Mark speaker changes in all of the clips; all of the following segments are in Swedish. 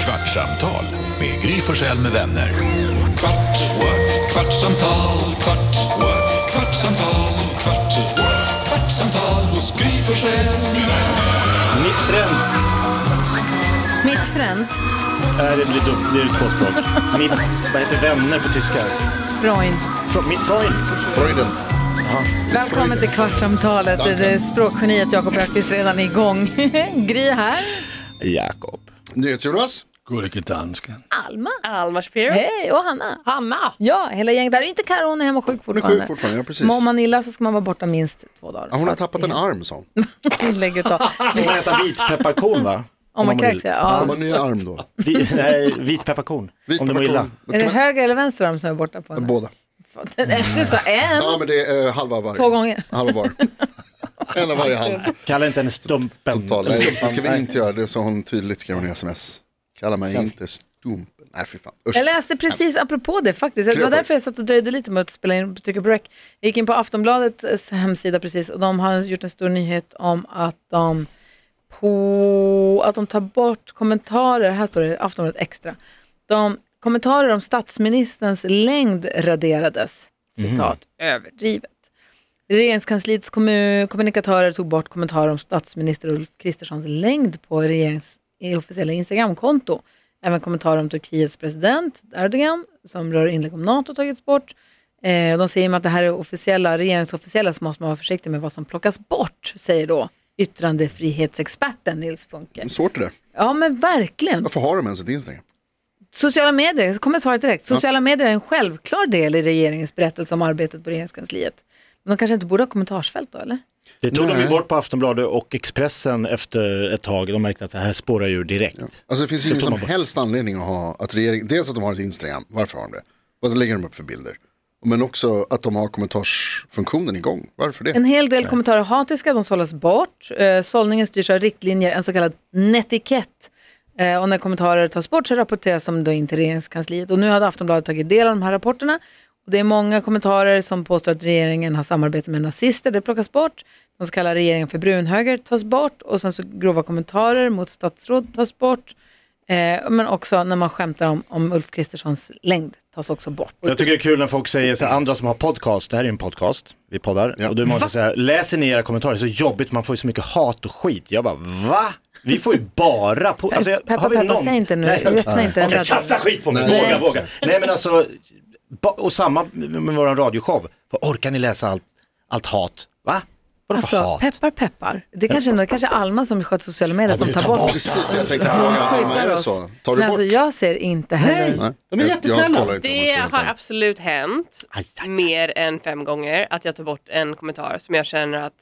Speaker 1: Kvartsamtal med Gry Forssell med vänner. Kvart, what? kvartsamtal, kvart, what? kvartsamtal, kvart, what? kvartsamtal hos Gry Forssell med vänner.
Speaker 2: Mitt Friends
Speaker 3: Mitt Friends,
Speaker 2: är, det blir dumt, det är två språk. Mitt, vad heter vänner på tyska?
Speaker 3: Freund.
Speaker 2: Fro, mitt Freund.
Speaker 4: Freuden.
Speaker 3: Välkommen till Kvartsamtalet. Det är språkgeniet Jakob Ökvist redan igång. Gry här.
Speaker 2: Jakob.
Speaker 4: NyhetsJonas.
Speaker 5: Gullige dansken.
Speaker 3: Alma.
Speaker 6: Alma Shapiro.
Speaker 3: Hej, och Hanna.
Speaker 6: Hanna.
Speaker 3: Ja, hela gänget där. Inte Karo, hon är hemma sjuk
Speaker 4: Hon är
Speaker 3: fortfarande.
Speaker 4: sjuk fortfarande, ja precis.
Speaker 3: Mår man illa så ska man vara borta minst två dagar.
Speaker 4: Ja, hon har tappat en arm sa hon.
Speaker 3: Lägg ut då.
Speaker 2: Ska man äta vitpepparkorn va?
Speaker 3: Om man kräks, ja.
Speaker 4: Hon
Speaker 3: ja.
Speaker 4: har en ny arm då.
Speaker 2: Vi, nej, vitpepparkorn. Om du mår illa.
Speaker 4: Vitpepparkorn.
Speaker 3: Är det höger eller vänster arm som är borta på henne?
Speaker 4: Båda.
Speaker 3: Du sa en,
Speaker 4: Ja men det är eh, halva varje.
Speaker 3: två gånger.
Speaker 4: Halva var. En av varje hand.
Speaker 2: Kalla inte henne stumpen.
Speaker 4: Total.
Speaker 2: Eller
Speaker 4: Nej, det
Speaker 2: stumpan.
Speaker 4: ska vi inte göra. Det sa hon tydligt skrev hon i sms. Kalla mig inte stumpen. Nej fy fan. Usch.
Speaker 3: Jag läste precis apropå det faktiskt. Det var
Speaker 4: Kröper.
Speaker 3: därför jag satt och dröjde lite med att spela in trycka på rec. Jag gick in på Aftonbladets hemsida precis och de har gjort en stor nyhet om att de, på, att de tar bort kommentarer. Här står det Aftonbladet Extra. De, kommentarer om statsministerns längd raderades. Citat, överdrivet. Regeringskansliets kommu- kommunikatörer tog bort kommentarer om statsminister Ulf Kristerssons längd på regerings i officiella Instagramkonto. Även kommentarer om Turkiets president Erdogan som rör inlägg om NATO tagits bort. Eh, de säger med att det här är officiella, regeringsofficiella så måste man vara försiktig med vad som plockas bort, säger då yttrandefrihetsexperten Nils Funke.
Speaker 4: Svårt det där.
Speaker 3: Ja men verkligen.
Speaker 4: Varför har de ens ett Instagram?
Speaker 3: Sociala medier, så kommer jag svara direkt. Sociala medier är en självklar del i regeringens berättelse om arbetet på regeringskansliet. Men de kanske inte borde ha kommentarsfält då eller?
Speaker 2: Det tog de
Speaker 4: Nej.
Speaker 2: ju bort på Aftonbladet och Expressen efter ett tag. De märkte att det här spårar ju direkt.
Speaker 4: Alltså det finns ju ingen
Speaker 2: tog
Speaker 4: som
Speaker 2: man bort.
Speaker 4: helst anledning att ha att regeringen, dels att de har ett Instagram, varför har de det? Vad lägger de upp för bilder? Men också att de har kommentarsfunktionen igång, varför det?
Speaker 3: En hel del kommentarer är hatiska, de sållas bort. Eh, sållningen styrs av riktlinjer, en så kallad netikett. Eh, och när kommentarer tas bort så rapporteras de då in till regeringskansliet. Och nu hade Aftonbladet tagit del av de här rapporterna. Och det är många kommentarer som påstår att regeringen har samarbete med nazister, det plockas bort. De så kallar regeringen för brunhöger tas bort. Och sen så grova kommentarer mot statsråd tas bort. Eh, men också när man skämtar om, om Ulf Kristerssons längd tas också bort.
Speaker 2: Jag tycker det är kul när folk säger så här, andra som har podcast, det här är ju en podcast, vi poddar,
Speaker 4: Ja.
Speaker 2: och du måste säga, läser ni era kommentarer, det är så jobbigt, man får ju så mycket hat och skit. Jag bara, va? Vi får ju bara, po- alltså, jag-
Speaker 3: Peppa,
Speaker 2: har vi
Speaker 3: peppa,
Speaker 2: någon-
Speaker 3: säg inte nu.
Speaker 2: Nej, jag-
Speaker 3: Öppna inte den
Speaker 2: Okej,
Speaker 3: där
Speaker 2: kasta skit på mig, våga, våga. Nej men alltså, ba- och samma med vår radioshow, orkar ni läsa allt, allt hat? Va? Vadå för
Speaker 3: Alltså,
Speaker 2: hat?
Speaker 3: peppar peppar. Det är kanske, det kanske är Alma som sköter sociala medier som tar bort.
Speaker 4: Precis det jag tänkte fråga, Alma, är
Speaker 3: Skyddar
Speaker 4: det
Speaker 3: oss.
Speaker 4: så? Tar du
Speaker 3: Men
Speaker 4: bort?
Speaker 3: alltså, jag ser inte heller.
Speaker 4: Nej,
Speaker 2: de är
Speaker 4: jag- Jag
Speaker 2: jättesnälla.
Speaker 4: kollar inte om jag
Speaker 6: Det
Speaker 4: ska vara helt
Speaker 6: har
Speaker 4: ärlig.
Speaker 6: absolut hänt
Speaker 2: Aj, aj, aj.
Speaker 6: mer än fem gånger att jag tar bort en kommentar som jag känner att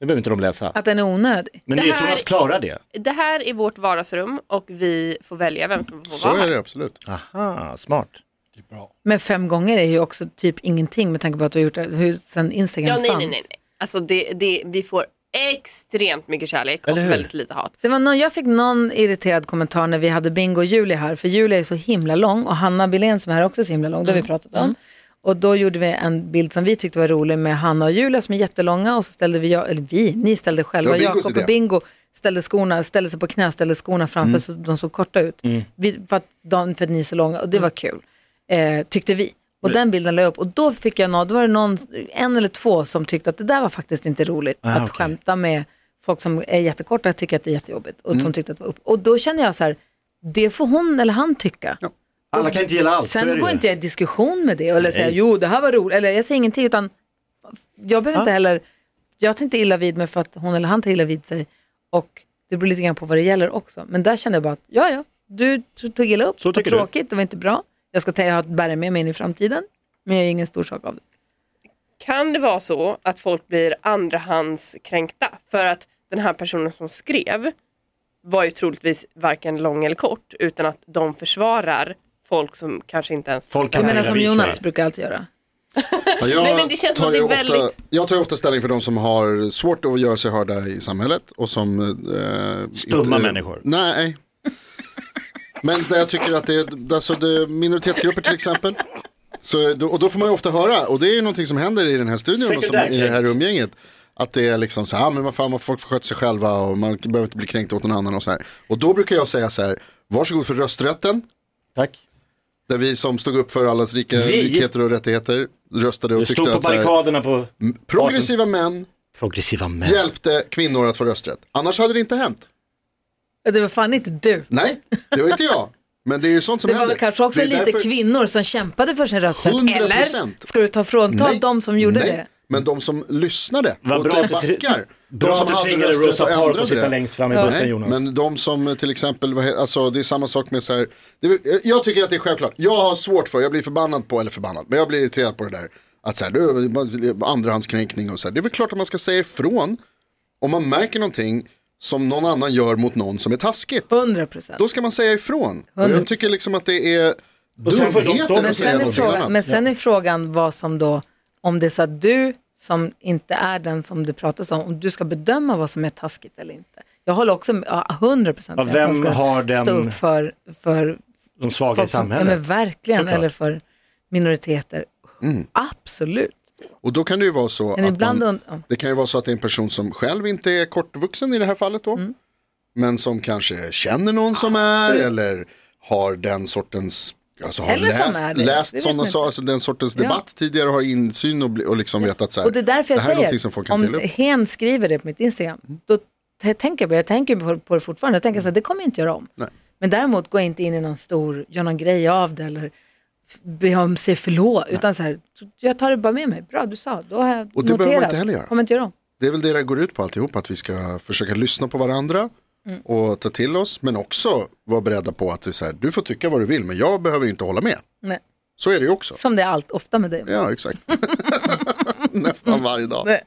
Speaker 2: Det behöver inte de läsa.
Speaker 3: Att den är onödig.
Speaker 2: Men
Speaker 6: det här-
Speaker 2: NyhetsJonas klarar det.
Speaker 6: det här är vårt vardagsrum och vi får välja vem som får
Speaker 4: Så
Speaker 6: vara
Speaker 4: är
Speaker 6: här.
Speaker 4: det absolut.
Speaker 2: Aha, smart.
Speaker 5: Det er bra.
Speaker 3: Men fem gånger är ju också typ ingenting med tanke på att du har gjort det hur, sen Instagram
Speaker 6: Ja, nej,
Speaker 3: fanns.
Speaker 6: nej, nej. nej. Alltså det, det, vi får extremt mycket kärlek och
Speaker 2: Eller hur?
Speaker 6: väldigt lite hat.
Speaker 3: Det var någon, jag fick någon irriterad kommentar när vi hade Bingo och Julie här, för Julie är så himla lång och Hanna Billén som är här också är så himla lång, det har
Speaker 6: Mm.
Speaker 3: vi pratat om. Och då gjorde vi en bild som vi tyckte var rolig med Hanna och Julia som är jättelånga och så ställde vi, jag, eller vi, ni ställde själva,
Speaker 4: Det var Bingos
Speaker 3: Jakob och
Speaker 4: idé.
Speaker 3: Bingo ställde skorna, ställde sig på knä, ställde skorna framför så de såg korta ut. Vi, för, att de, för att ni är så långa och det var kul, eh, tyckte vi. Och den bilden la jag upp och då fick jag någon, då var det någon, en eller två som tyckte att det där var faktiskt inte roligt att
Speaker 2: okej.
Speaker 3: skämta med folk som är jättekorta tycker att det är jättejobbigt och som tyckte att det var upp. Och då kände jag så här, det får hon eller han tycka.
Speaker 2: Alla kan inte gilla allt, så är det
Speaker 3: Sen
Speaker 2: ju.
Speaker 3: går inte jag i diskussion med det eller säger jo det här var roligt, eller jag säger ingenting utan jag behöver inte heller, jag tar inte illa vid mig för att hon eller han tar illa vid sig och det beror lite grann på vad det gäller också. Men där kände jag bara att ja ja, du t- tog illa upp,
Speaker 2: Så
Speaker 3: vad
Speaker 2: tycker du.
Speaker 3: tråkigt, det var inte bra. Jag ska ta, jag bära med mig in i framtiden, men jag gör ingen stor sak av det.
Speaker 6: Kan det vara så att folk blir andrahandskränkta för att den här personen som skrev var ju troligtvis varken lång eller kort utan att de försvarar folk som kanske inte ens...
Speaker 2: Folk kan
Speaker 3: Jag
Speaker 2: ta
Speaker 3: menar
Speaker 2: illa
Speaker 3: som
Speaker 2: vid sig.
Speaker 3: Jonas brukar alltid göra.
Speaker 4: Ja, jag,
Speaker 6: Nej, men det känns som
Speaker 4: tar
Speaker 6: att det är
Speaker 4: ju ofta,
Speaker 6: väldigt-
Speaker 4: jag tar ju ofta ställning för de som har svårt att göra sig hörda i samhället och som... Eh,
Speaker 2: Stumma människor.
Speaker 4: Nej. Men där jag tycker att det är, alltså det är minoritetsgrupper till exempel. Så, då- och då får man ju ofta höra, och det är ju någonting som händer i den här studion och som, i det här
Speaker 2: Sekundärkränkt.
Speaker 4: umgänget, Att det är liksom så här, ah, men vad fan, man- folk får sköta sig själva och man behöver inte bli kränkt åt någon annan och så här. Och då brukar jag säga så här, varsågod för rösträtten,
Speaker 2: Tack.
Speaker 4: där vi som stod upp för allas rika
Speaker 2: Vi?
Speaker 4: likheter och rättigheter röstade och
Speaker 2: Du
Speaker 4: tyckte
Speaker 2: stod på
Speaker 4: att så här,
Speaker 2: barrikaderna på
Speaker 4: progressiva män
Speaker 2: progressiva män.
Speaker 4: hjälpte kvinnor att få rösträtt. Annars hade det inte hänt.
Speaker 3: Det var fan inte du.
Speaker 4: Nej, det var inte jag. Men det är ju sånt som
Speaker 3: Det var
Speaker 4: händer.
Speaker 3: väl kanske också
Speaker 4: Det är
Speaker 3: lite
Speaker 4: därför-
Speaker 3: kvinnor som kämpade för sin rösträtt,
Speaker 4: 100%.
Speaker 3: eller? Ska du ta frånta
Speaker 4: Nej.
Speaker 3: dem som gjorde
Speaker 4: Nej.
Speaker 3: det?
Speaker 4: Men de som lyssnade
Speaker 2: Vad
Speaker 4: och
Speaker 2: bra
Speaker 4: de
Speaker 2: att du tr-
Speaker 4: backar.
Speaker 2: Bra
Speaker 4: de som
Speaker 2: att du
Speaker 4: hade
Speaker 2: tvingade
Speaker 4: rösträtt
Speaker 2: Rosa
Speaker 4: och
Speaker 2: Park
Speaker 4: ändrade
Speaker 2: att sitta
Speaker 4: det.
Speaker 2: längst fram i
Speaker 3: Ja.
Speaker 2: bussen Jonas.
Speaker 4: Men de som eh, till exempel, vad he- alltså det är samma sak med så här, det, är- eh, jag tycker att det är självklart, jag har svårt för, jag blir förbannad på, eller förbannad, men jag blir irriterad på det där. Att så här, du, eh, man- andrahandskränkning och så här, det är väl klart att man ska säga ifrån om man märker någonting som någon annan gör mot någon som är taskigt.
Speaker 3: 100 procent.
Speaker 4: Då ska man säga ifrån. Och jag
Speaker 3: 100%.
Speaker 4: tycker liksom att det är
Speaker 2: sen får de stå
Speaker 4: dumheter
Speaker 2: för
Speaker 3: Men
Speaker 4: att
Speaker 2: sig.
Speaker 4: säga
Speaker 3: sen, är
Speaker 4: någonting
Speaker 3: frågan, men
Speaker 4: annat.
Speaker 3: sen är frågan vad som då, om det är så att du som inte är den som det pratas om, om du ska bedöma vad som är taskigt eller inte. Jag håller också med, ja, 100 procent
Speaker 2: Ja, vem har den-
Speaker 3: stå upp för, för
Speaker 2: De svaga i
Speaker 3: folk som, ja, men
Speaker 2: samhället.
Speaker 3: verkligen,
Speaker 2: Såklart.
Speaker 3: eller för minoriteter. Absolut.
Speaker 4: Och då kan Mm. det ju vara så
Speaker 3: Men
Speaker 4: att man,
Speaker 3: ibland, und- ja.
Speaker 4: Det kan ju vara så att det är en person som själv inte är kortvuxen i det här fallet då.
Speaker 3: Mm.
Speaker 4: Men som kanske känner någon som är eller har den sortens, alltså har
Speaker 3: Eller som är
Speaker 4: läst,
Speaker 3: det, det
Speaker 4: läst
Speaker 3: vet
Speaker 4: sådana
Speaker 3: man
Speaker 4: saker,
Speaker 3: inte.
Speaker 4: alltså den sortens
Speaker 3: Ja.
Speaker 4: debatt tidigare har insyn och, bli- och liksom vet att så här,
Speaker 3: Och det är därför jag
Speaker 4: här är någonting som folk
Speaker 3: säger,
Speaker 4: kan dela
Speaker 3: om
Speaker 4: upp.
Speaker 3: Hen skriver det på mitt Instagram, då t- tänker jag, på- jag tänker på, på det fortfarande, jag tänker så här, det kommer jag inte göra om.
Speaker 4: Mm. Nej.
Speaker 3: Men däremot går jag inte in i någon stor, gör någon grej av det eller f- be om sig förlåt, utan så här, jag tar det bara med mig. Bra, du sa, då har jag
Speaker 4: Och det
Speaker 3: noterat.
Speaker 4: behöver man inte heller göra.
Speaker 3: Kommer inte göra om.
Speaker 4: Det är väl det det går ut på alltihop, att vi ska försöka lyssna på varandra
Speaker 3: Mm.
Speaker 4: och ta till oss, men också vara beredda på att det är så här, du får tycka vad du vill, men jag behöver inte hålla med.
Speaker 3: Nej.
Speaker 4: Så är det ju också.
Speaker 3: Som det är allt ofta med dig.
Speaker 4: Ja, exakt. Nästan varje dag.
Speaker 3: Nej.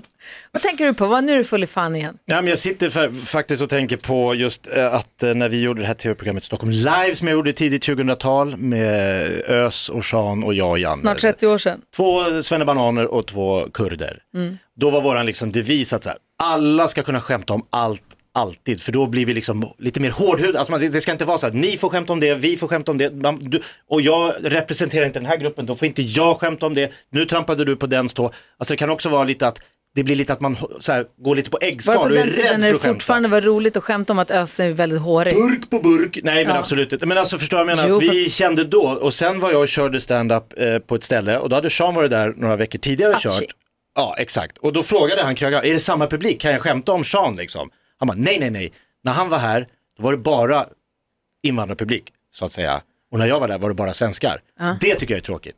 Speaker 3: Vad tänker du på? Vad, nu är du full i fan igen.
Speaker 2: Ja, men jag sitter fa- faktiskt och tänker på just eh, att eh, när vi gjorde det här tv-programmet Stockholm Live som jag gjorde tidigt 2000-tal med Ös och Sean och jag och Janne.
Speaker 3: Snart 30 år sedan.
Speaker 2: Två svennebananer och två kurder.
Speaker 3: Mm.
Speaker 2: Då var våran liksom devis att så här, alla ska kunna skämta om allt, alltid. För då blir vi liksom lite mer hårdhud. Alltså man, det ska inte vara så att ni får skämta om det, vi får skämta om det. Man, du, och jag representerar inte den här gruppen, då får inte jag skämta om det. Nu trampade du på den stå. Alltså det kan också vara lite att det blir lite att man ho- så här, går lite på
Speaker 3: Var
Speaker 2: äggskal
Speaker 3: det på
Speaker 2: och är
Speaker 3: den
Speaker 2: rädd
Speaker 3: tiden när
Speaker 2: för
Speaker 3: det
Speaker 2: att skämta.
Speaker 3: fortfarande var roligt att skämta om att Ös är väldigt hårig?
Speaker 2: Burk på burk. Nej men
Speaker 3: Ja.
Speaker 2: absolut inte. Men alltså förstår jag vad jag menar?
Speaker 3: Jo,
Speaker 2: att vi kände då och sen var jag och körde stand-up eh, på ett ställe och då hade Sean varit där några veckor tidigare och
Speaker 3: Achi.
Speaker 2: kört. Ja exakt. Och då frågade han krögaren, är det samma publik? Kan jag skämta om Sean liksom? Han bara, nej nej nej. När han var här, då var det bara invandrarpublik så att säga. Och när jag var där var det bara svenskar. Det tycker jag är tråkigt.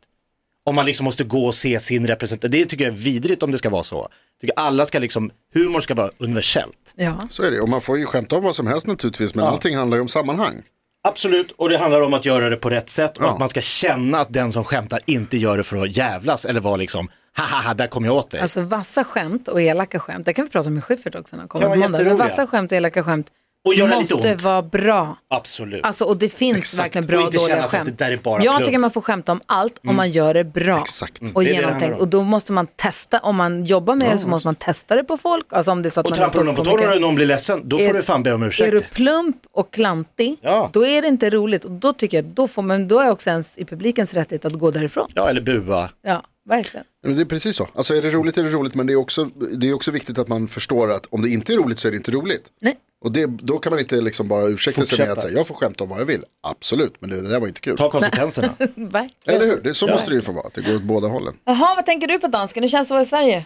Speaker 2: Om man liksom måste gå och se sin representant. Det tycker jag är vidrigt om det ska vara så. Jag tycker alla ska liksom, humor ska vara universellt.
Speaker 3: Ja.
Speaker 4: Så är det, och man får ju skämta om vad som helst naturligtvis, men allting handlar ju om sammanhang.
Speaker 2: Absolut, och det handlar om att göra det på rätt sätt och
Speaker 4: Ja.
Speaker 2: att man ska känna att den som skämtar inte gör det för att jävlas eller vara liksom, haha, där kom jag åt dig.
Speaker 3: Alltså vassa skämt och elaka skämt, det kan vi prata om i Schyffert också när han kommer
Speaker 2: Kan
Speaker 3: på
Speaker 2: vara
Speaker 3: måndag. Men
Speaker 2: jätteroliga.
Speaker 3: vassa skämt och elaka skämt
Speaker 2: Och göra lite
Speaker 3: måste
Speaker 2: ont.
Speaker 3: vara bra.
Speaker 2: Absolut.
Speaker 3: Alltså, och det finns
Speaker 4: Exakt.
Speaker 3: verkligen bra
Speaker 2: Och
Speaker 3: och
Speaker 2: inte känna
Speaker 3: dåliga
Speaker 2: sig att
Speaker 3: skämt.
Speaker 2: det där är bara
Speaker 3: jag
Speaker 2: plugg.
Speaker 3: tycker man får skämta om allt om man gör det bra.
Speaker 4: Exakt. Mm.
Speaker 3: Och
Speaker 2: Det är det det
Speaker 3: genomtänkt.
Speaker 2: handlar om.
Speaker 3: och då måste man testa, om man jobbar med det så måste man testa det på folk. Alltså om det är så att
Speaker 2: och
Speaker 3: man är
Speaker 2: trampar du någon på
Speaker 3: ståuppkomiker.
Speaker 2: tårna och någon blir ledsen, då får
Speaker 3: Är-
Speaker 2: du fan be om ursäkt.
Speaker 3: Är du plump och klantig,
Speaker 2: Ja.
Speaker 3: då är det inte roligt. Och då tycker jag, då får man, då är också ens i publikens rättighet att gå därifrån.
Speaker 2: Ja, eller bua.
Speaker 3: Ja, verkligen.
Speaker 4: Men det är precis så. Alltså är det roligt är det roligt, men det är, också, det är också viktigt att man förstår att om det inte är roligt så är det inte roligt.
Speaker 3: Nej.
Speaker 4: Och det, då kan man inte liksom bara ursäkta sig med
Speaker 2: Fortsätta.
Speaker 4: att säga, jag får skämta om vad jag vill. Absolut, men det, det där var inte kul.
Speaker 2: Ta konsekvenserna.
Speaker 3: verkligen.
Speaker 4: Eller hur? Det, så måste det ju få vara, att det går åt båda hållen.
Speaker 3: Jaha, vad tänker du på dansken? Hur känns det att vara i Sverige?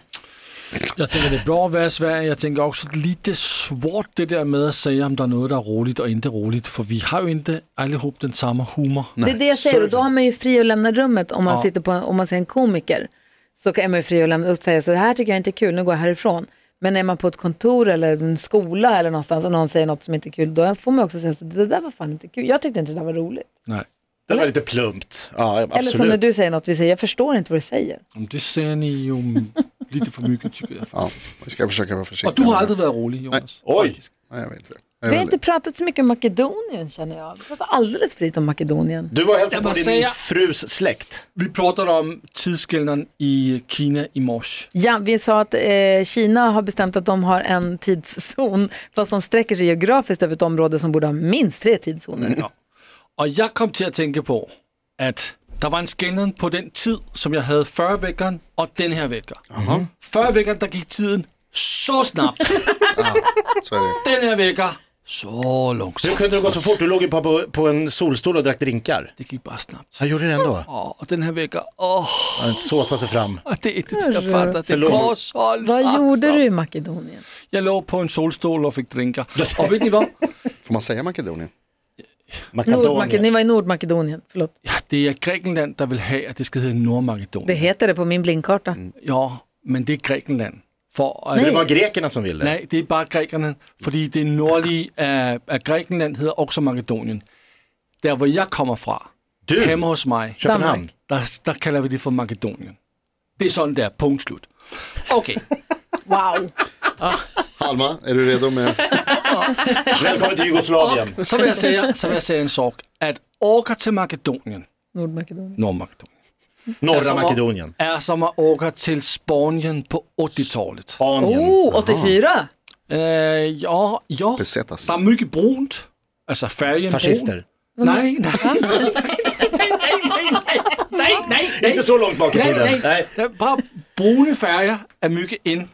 Speaker 5: Jeg tænker, det er bra at være i Sverige. Jeg tænker også lidt svårt det der med at sige, om der er noget, der er roligt og ikke roligt. For vi har jo ikke alle ihop den samme humor.
Speaker 3: Det är det jag säger och då har man ju fri att lämna rummet om man, sitter på, om man ser en komiker. Så är man ju fri att lämna och säga så det här tycker jag inte är kul, nu går jag härifrån. Men är man på ett kontor eller en skola eller någonstans och någon säger något som inte är kul, då får man också säga så det där var fan inte kul, jag tyckte inte det där var roligt.
Speaker 5: Nej,
Speaker 2: Det var lite plumpt. Ja,
Speaker 3: Eller som när
Speaker 2: absolut.
Speaker 3: du säger något, vi säger jag förstår inte vad du säger.
Speaker 5: men det ser ni jo lidt for myggen, tycker jeg.
Speaker 4: Ja, vi ska försöka vara försiktiga.
Speaker 5: Og du har aldrig været rolig, Jonas.
Speaker 2: Oj,
Speaker 4: Nej, jag vet inte det. Jag
Speaker 3: Vi
Speaker 4: vet
Speaker 3: har inte pratat så mycket om Makedonien känner jag. Vi pratar alldeles fritt om Makedonien.
Speaker 2: du var hälsade på
Speaker 5: Jag
Speaker 2: din
Speaker 5: måste säga-
Speaker 2: frus släkt.
Speaker 5: Vi pratade om tidsskillnaden i Kina i morse.
Speaker 3: Ja, vi sa att eh, Kina har bestämt att de har en tidszon, fast som sträcker sig geografiskt över ett område som borde ha minst tre tidszoner.
Speaker 5: Og jeg kom til at tænke på, at Der var en skænden på den tid, som jeg havde før vækkeren og den her vækker. Mhm. Før vækkeren, der gik tiden så snabbt.
Speaker 4: Så är det.
Speaker 5: den her vækker, så
Speaker 2: Hur
Speaker 5: långsamt.
Speaker 2: kunde det gå så fort? Du låg ju på, på, på en solstol och drack drinkar.
Speaker 5: Det gik bare snabbt.
Speaker 2: Jag gjorde det ändå.
Speaker 5: Åh, og den her vækker, åh,
Speaker 2: Han såsade sig fram.
Speaker 5: det er ikke til at fatte. Det Ah. går så
Speaker 3: Vad gjorde
Speaker 5: langsomt.
Speaker 3: du i Makedonien?
Speaker 5: Jeg lå på en solstol og fik drinker. Og ved I hvad?
Speaker 4: Får man säga Makedonien?
Speaker 3: Nordmakedonien. Ni
Speaker 2: Makedonien.
Speaker 3: var i Nordmakedonien, förlåt.
Speaker 5: Ja, det er Grækenland, der vil have, at det skal hedde Nordmakedonien.
Speaker 3: Det heter det på min blindkarta.
Speaker 5: Ja, men det er Grækenland. For,
Speaker 2: Det
Speaker 5: nej.
Speaker 2: var grekerna som ville.
Speaker 5: nej, det er bare grækerne, fordi det nordlige af, af Grækenland hedder også Makedonien. Der, hvor jeg kommer fra,
Speaker 2: Du,
Speaker 5: hjemme hos mig,
Speaker 2: Köpenhamn.
Speaker 5: der, der kalder vi det for Makedonien. Det er sådan der, punkt slut. Okay,
Speaker 3: Wow.
Speaker 4: Alma, är du redo med?
Speaker 2: Välkommen till Jugoslavien.
Speaker 5: så vil jeg sige, så vil jeg sige en sorg, at åker til Makedonien,
Speaker 3: Nordmakedonien.
Speaker 5: Nordmakedonien,
Speaker 2: Norra Makedonien.
Speaker 5: er som at åker til Spanien på 80-tallet.
Speaker 2: Spanien.
Speaker 3: Oh, 84!
Speaker 5: Øh, ja, ja,
Speaker 4: Besättas.
Speaker 5: der er mycket brunt, altså färgen brun.
Speaker 2: Fascister.
Speaker 5: Nej, nej.
Speaker 2: Inte så långt bak i tiden. Nej.
Speaker 5: Der er bare brune färger er mycket in.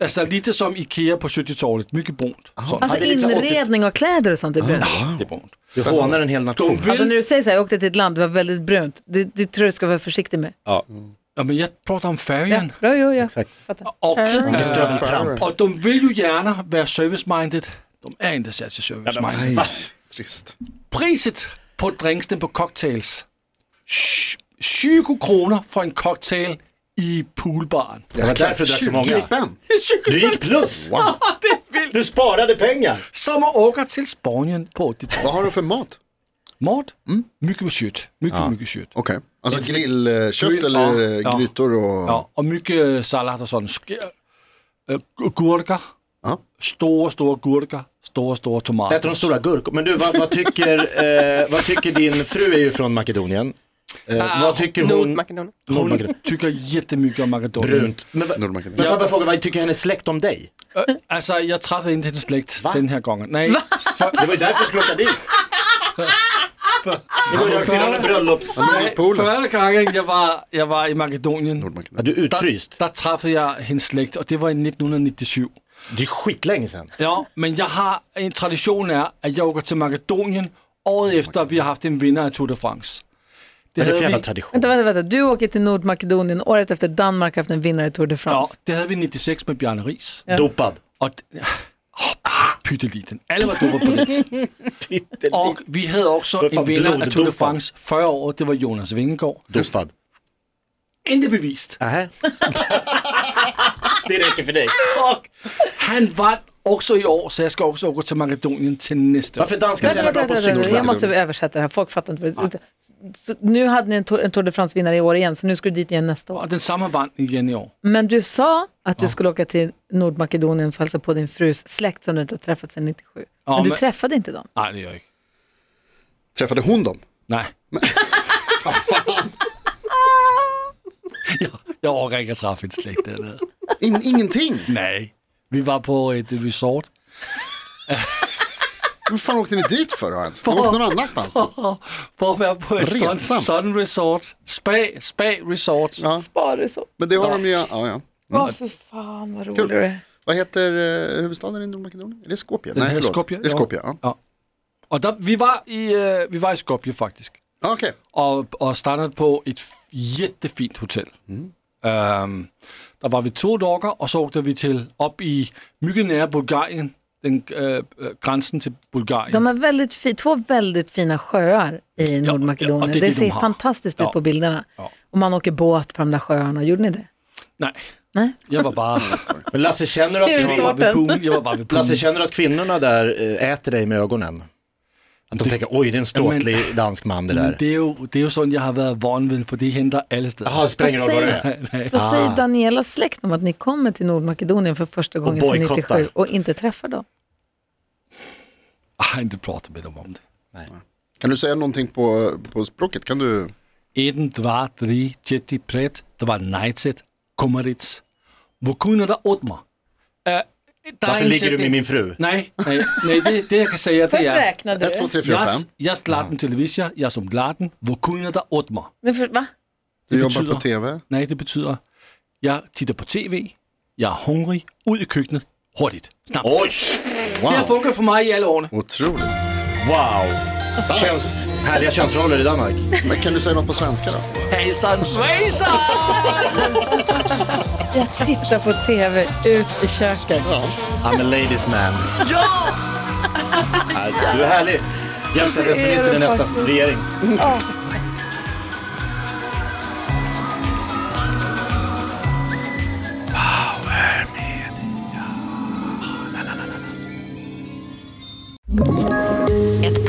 Speaker 5: Alltså lite som Ikea på 70-talet, mycket brunt. Sådan.
Speaker 3: Alltså
Speaker 2: det är lite
Speaker 3: inredning och kläder och sånt är brunt.
Speaker 5: Det er brunt.
Speaker 2: Du hånar en hel nation.
Speaker 3: Alltså när du säger så här, jag åkte till ett land, det var väldigt brunt. Det, det tror jag du ska vara försiktig med.
Speaker 5: Ja, men jag pratar om
Speaker 3: Ja,
Speaker 5: färgen.
Speaker 3: bra, jo, ja.
Speaker 5: Och,
Speaker 2: Stövel tramp.
Speaker 5: och de vill ju gärna vara service-minded. De är inte särskilt service-minded.
Speaker 4: Nej, trist.
Speaker 5: Priset på drinksen på cocktails. 20 kronor för en cocktail i poolbaren.
Speaker 2: Det var därför du drack så
Speaker 4: 20
Speaker 2: många.
Speaker 4: spänn.
Speaker 2: Du gick plus. Du sparade pengar.
Speaker 5: Som att åka till Spanien på 80-talet.
Speaker 4: Vad har de för mat?
Speaker 5: Mat,
Speaker 2: Mm.
Speaker 5: mycket med kött. Mycket,
Speaker 2: Ah.
Speaker 5: mycket kött.
Speaker 4: Okej, alltså grillkött
Speaker 5: Grill,
Speaker 4: eller
Speaker 5: ja, ja.
Speaker 4: grytor och...
Speaker 5: Ja, og mygge salat og sådan. Sk- øh, gu- gurker.
Speaker 4: Ja.
Speaker 5: Store, store gurker. Store, store tomater.
Speaker 2: Äter de stora gurkor? Men du, vad, vad, tycker, eh, vad tycker din fru är ju från Makedonien. Eh, vad tycker hon?
Speaker 6: Nordmakedonien.
Speaker 5: Hun
Speaker 2: Nordmakedonien.
Speaker 5: tycker jättemycket om makedonien.
Speaker 2: Brunt. Men, va- men
Speaker 4: Nordmakedonien.
Speaker 2: får jag bara fråga, vad tycker hennes släkt om dig?
Speaker 5: Øh, altså, jeg træffede inte hendes slægt
Speaker 2: Hva?
Speaker 5: den her gang. Nej,
Speaker 2: Det var ju därför jag skulle åka dit. Det var ju jag firade bröllops...
Speaker 4: Men i poolen.
Speaker 5: første gang jeg var, jeg var i Makedonien,
Speaker 2: Ja,
Speaker 4: Nordmakedonien.
Speaker 2: du är utfryst.
Speaker 5: der træffede jeg hendes slægt, og det var i 1997.
Speaker 2: Det är skitlänge sedan.
Speaker 5: Ja, men jeg har en tradition er, at jeg åker til Makedonien året efter, at vi har haft en vinder af Tour de France. Det
Speaker 2: Vad är det för
Speaker 5: havde
Speaker 2: jävla
Speaker 5: vi,
Speaker 2: tradition?
Speaker 3: Vänta, vänta, vänta. Du åker till Nordmakedonien året efter Danmark har haft en vinnare i Tour de
Speaker 5: ja,
Speaker 3: France.
Speaker 5: det havde vi i 96 med Bjarne Ries.
Speaker 2: Dopad.
Speaker 5: Og d- oh, pytteliten. Alle var dumme på det. Og vi havde også
Speaker 2: Hvad for
Speaker 5: en vinder af Tour de
Speaker 2: bloddumper?
Speaker 5: France 40 år. Det var Jonas Vingegaard.
Speaker 2: Dopad.
Speaker 5: Inte bevist.
Speaker 2: Aha. Det räcker för dig.
Speaker 5: Han vann också i år, så jag ska också åka till Makedonien till nästa år.
Speaker 2: Varför är danskar så
Speaker 3: Vänta,
Speaker 2: jävla bra på
Speaker 3: vänta, vänta, vänta.
Speaker 2: psykologi?
Speaker 3: Jag måste översätta det här, folk fattar inte. vad det- Så, nu hade ni en Tour, en Tour de France-vinnare i år igen, så nu ska du dit igen nästa år.
Speaker 5: Och den samma vann igen i år.
Speaker 3: Men du sa att du skulle åka till Nordmakedonien för att hälsa på din frus släkt som du inte har träffat sedan 97.
Speaker 5: Ja,
Speaker 3: men du
Speaker 5: men-
Speaker 3: träffade inte dem.
Speaker 5: Nej, det gör jag inte.
Speaker 4: Träffade hon dem?
Speaker 5: Nej. jag, jag orkar inte träffa en släkt där nere.
Speaker 4: In, ingenting?
Speaker 5: Nej. Vi var på ett resort.
Speaker 4: Hur fan åkte ni dit för då ens? Ni åkte någon annanstans? då?
Speaker 5: För att vara Ah, på ett sånt,
Speaker 4: Retsamt.
Speaker 5: sån resort. Spa, spa resort.
Speaker 4: Ja,
Speaker 3: Spar det så.
Speaker 4: men det har de ju... Ja, ja.
Speaker 3: Åh, fy fan vad roligt
Speaker 4: Kul.
Speaker 3: det är.
Speaker 4: Vad heter eh, huvudstaden i Nordmakedonien? Är det Skopje?
Speaker 5: Den
Speaker 4: Nej,
Speaker 5: hedder
Speaker 4: förlåt.
Speaker 5: Skopje.
Speaker 4: Det är Skopje, ja.
Speaker 5: ja. Og der, vi, var i, øh, vi var i Skopje faktisk,
Speaker 4: ja Okej,
Speaker 5: og, og startede på et f- jättefint hotel. Mm. Øhm, der var vi to dokker, og så åkte vi til op i mycket nære Bulgarien, den, øh, øh, grænsen til Bulgarien.
Speaker 3: De har väldigt fi, två väldigt fina sjöar i Nordmakedonien.
Speaker 5: ja, det är
Speaker 3: det,
Speaker 5: det de
Speaker 3: ser
Speaker 5: har.
Speaker 3: fantastiskt
Speaker 5: Ja.
Speaker 3: ut på bilderna. Och man åker båt på de där sjöarna. Gjorde ni det?
Speaker 5: Nej,
Speaker 3: Nej?
Speaker 5: jeg var bare,
Speaker 2: Men Lasse, känner du
Speaker 3: Det är
Speaker 2: att
Speaker 3: ju
Speaker 5: jeg var
Speaker 2: kvinnor,
Speaker 3: så.
Speaker 5: ved poolen. Jeg var bare ved poolen.
Speaker 2: Lasse, känner du att kvinnorna där eh, äter dig med ögonen? Att de tänker, oj, det är en ståtlig dansk man det där.
Speaker 5: Det er, jo, det er jo sådan, jeg har været vanvid, for det henter alle steder. Ah,
Speaker 2: Jaha, det spelar ingen roll vad det är.
Speaker 3: Vad säger Danielas släkt om att ni kommer till Nordmakedonien för första gången sedan
Speaker 2: bojkottar.
Speaker 3: 97 og inte träffar dem?
Speaker 5: Jeg har ikke pratet med dem om det.
Speaker 4: kan du säga någonting på, på språket? Kan du...
Speaker 5: 1, 2, 3, 4, 5, 2, 19, kommer dit. Hvor kunne der åbne mig? Der
Speaker 2: Varför
Speaker 5: en
Speaker 2: ligger du med
Speaker 5: sætning-
Speaker 2: min fru?
Speaker 5: Nej, nej, nej det, det jag kan säga
Speaker 3: Först
Speaker 5: det är...
Speaker 3: räknade
Speaker 4: 1, 2,
Speaker 3: du.
Speaker 4: 3, 4, 5.
Speaker 5: Jag, jag laden till Levisia, jag som laden, hvor kunde der åt mig?
Speaker 3: Men för, va?
Speaker 4: Du jobbar
Speaker 5: betyder-
Speaker 4: på tv.
Speaker 5: Nej, det betyder, jag tittar på tv, jag är hungrig, ut i köknet, hurtigt, snabbt.
Speaker 2: Oj!
Speaker 5: Det har funkat för mig i alla åren.
Speaker 4: Otroligt.
Speaker 2: Wow! Köns, härliga könsroller i Danmark.
Speaker 4: Men kan du säga något på svenska då?
Speaker 5: Hejsan svejsan!
Speaker 3: Jag tittar på tv ut i köket.
Speaker 2: I'm a ladies man. Ja! Du är härlig. Jämställdhetsminister i nästa regering.
Speaker 7: Ett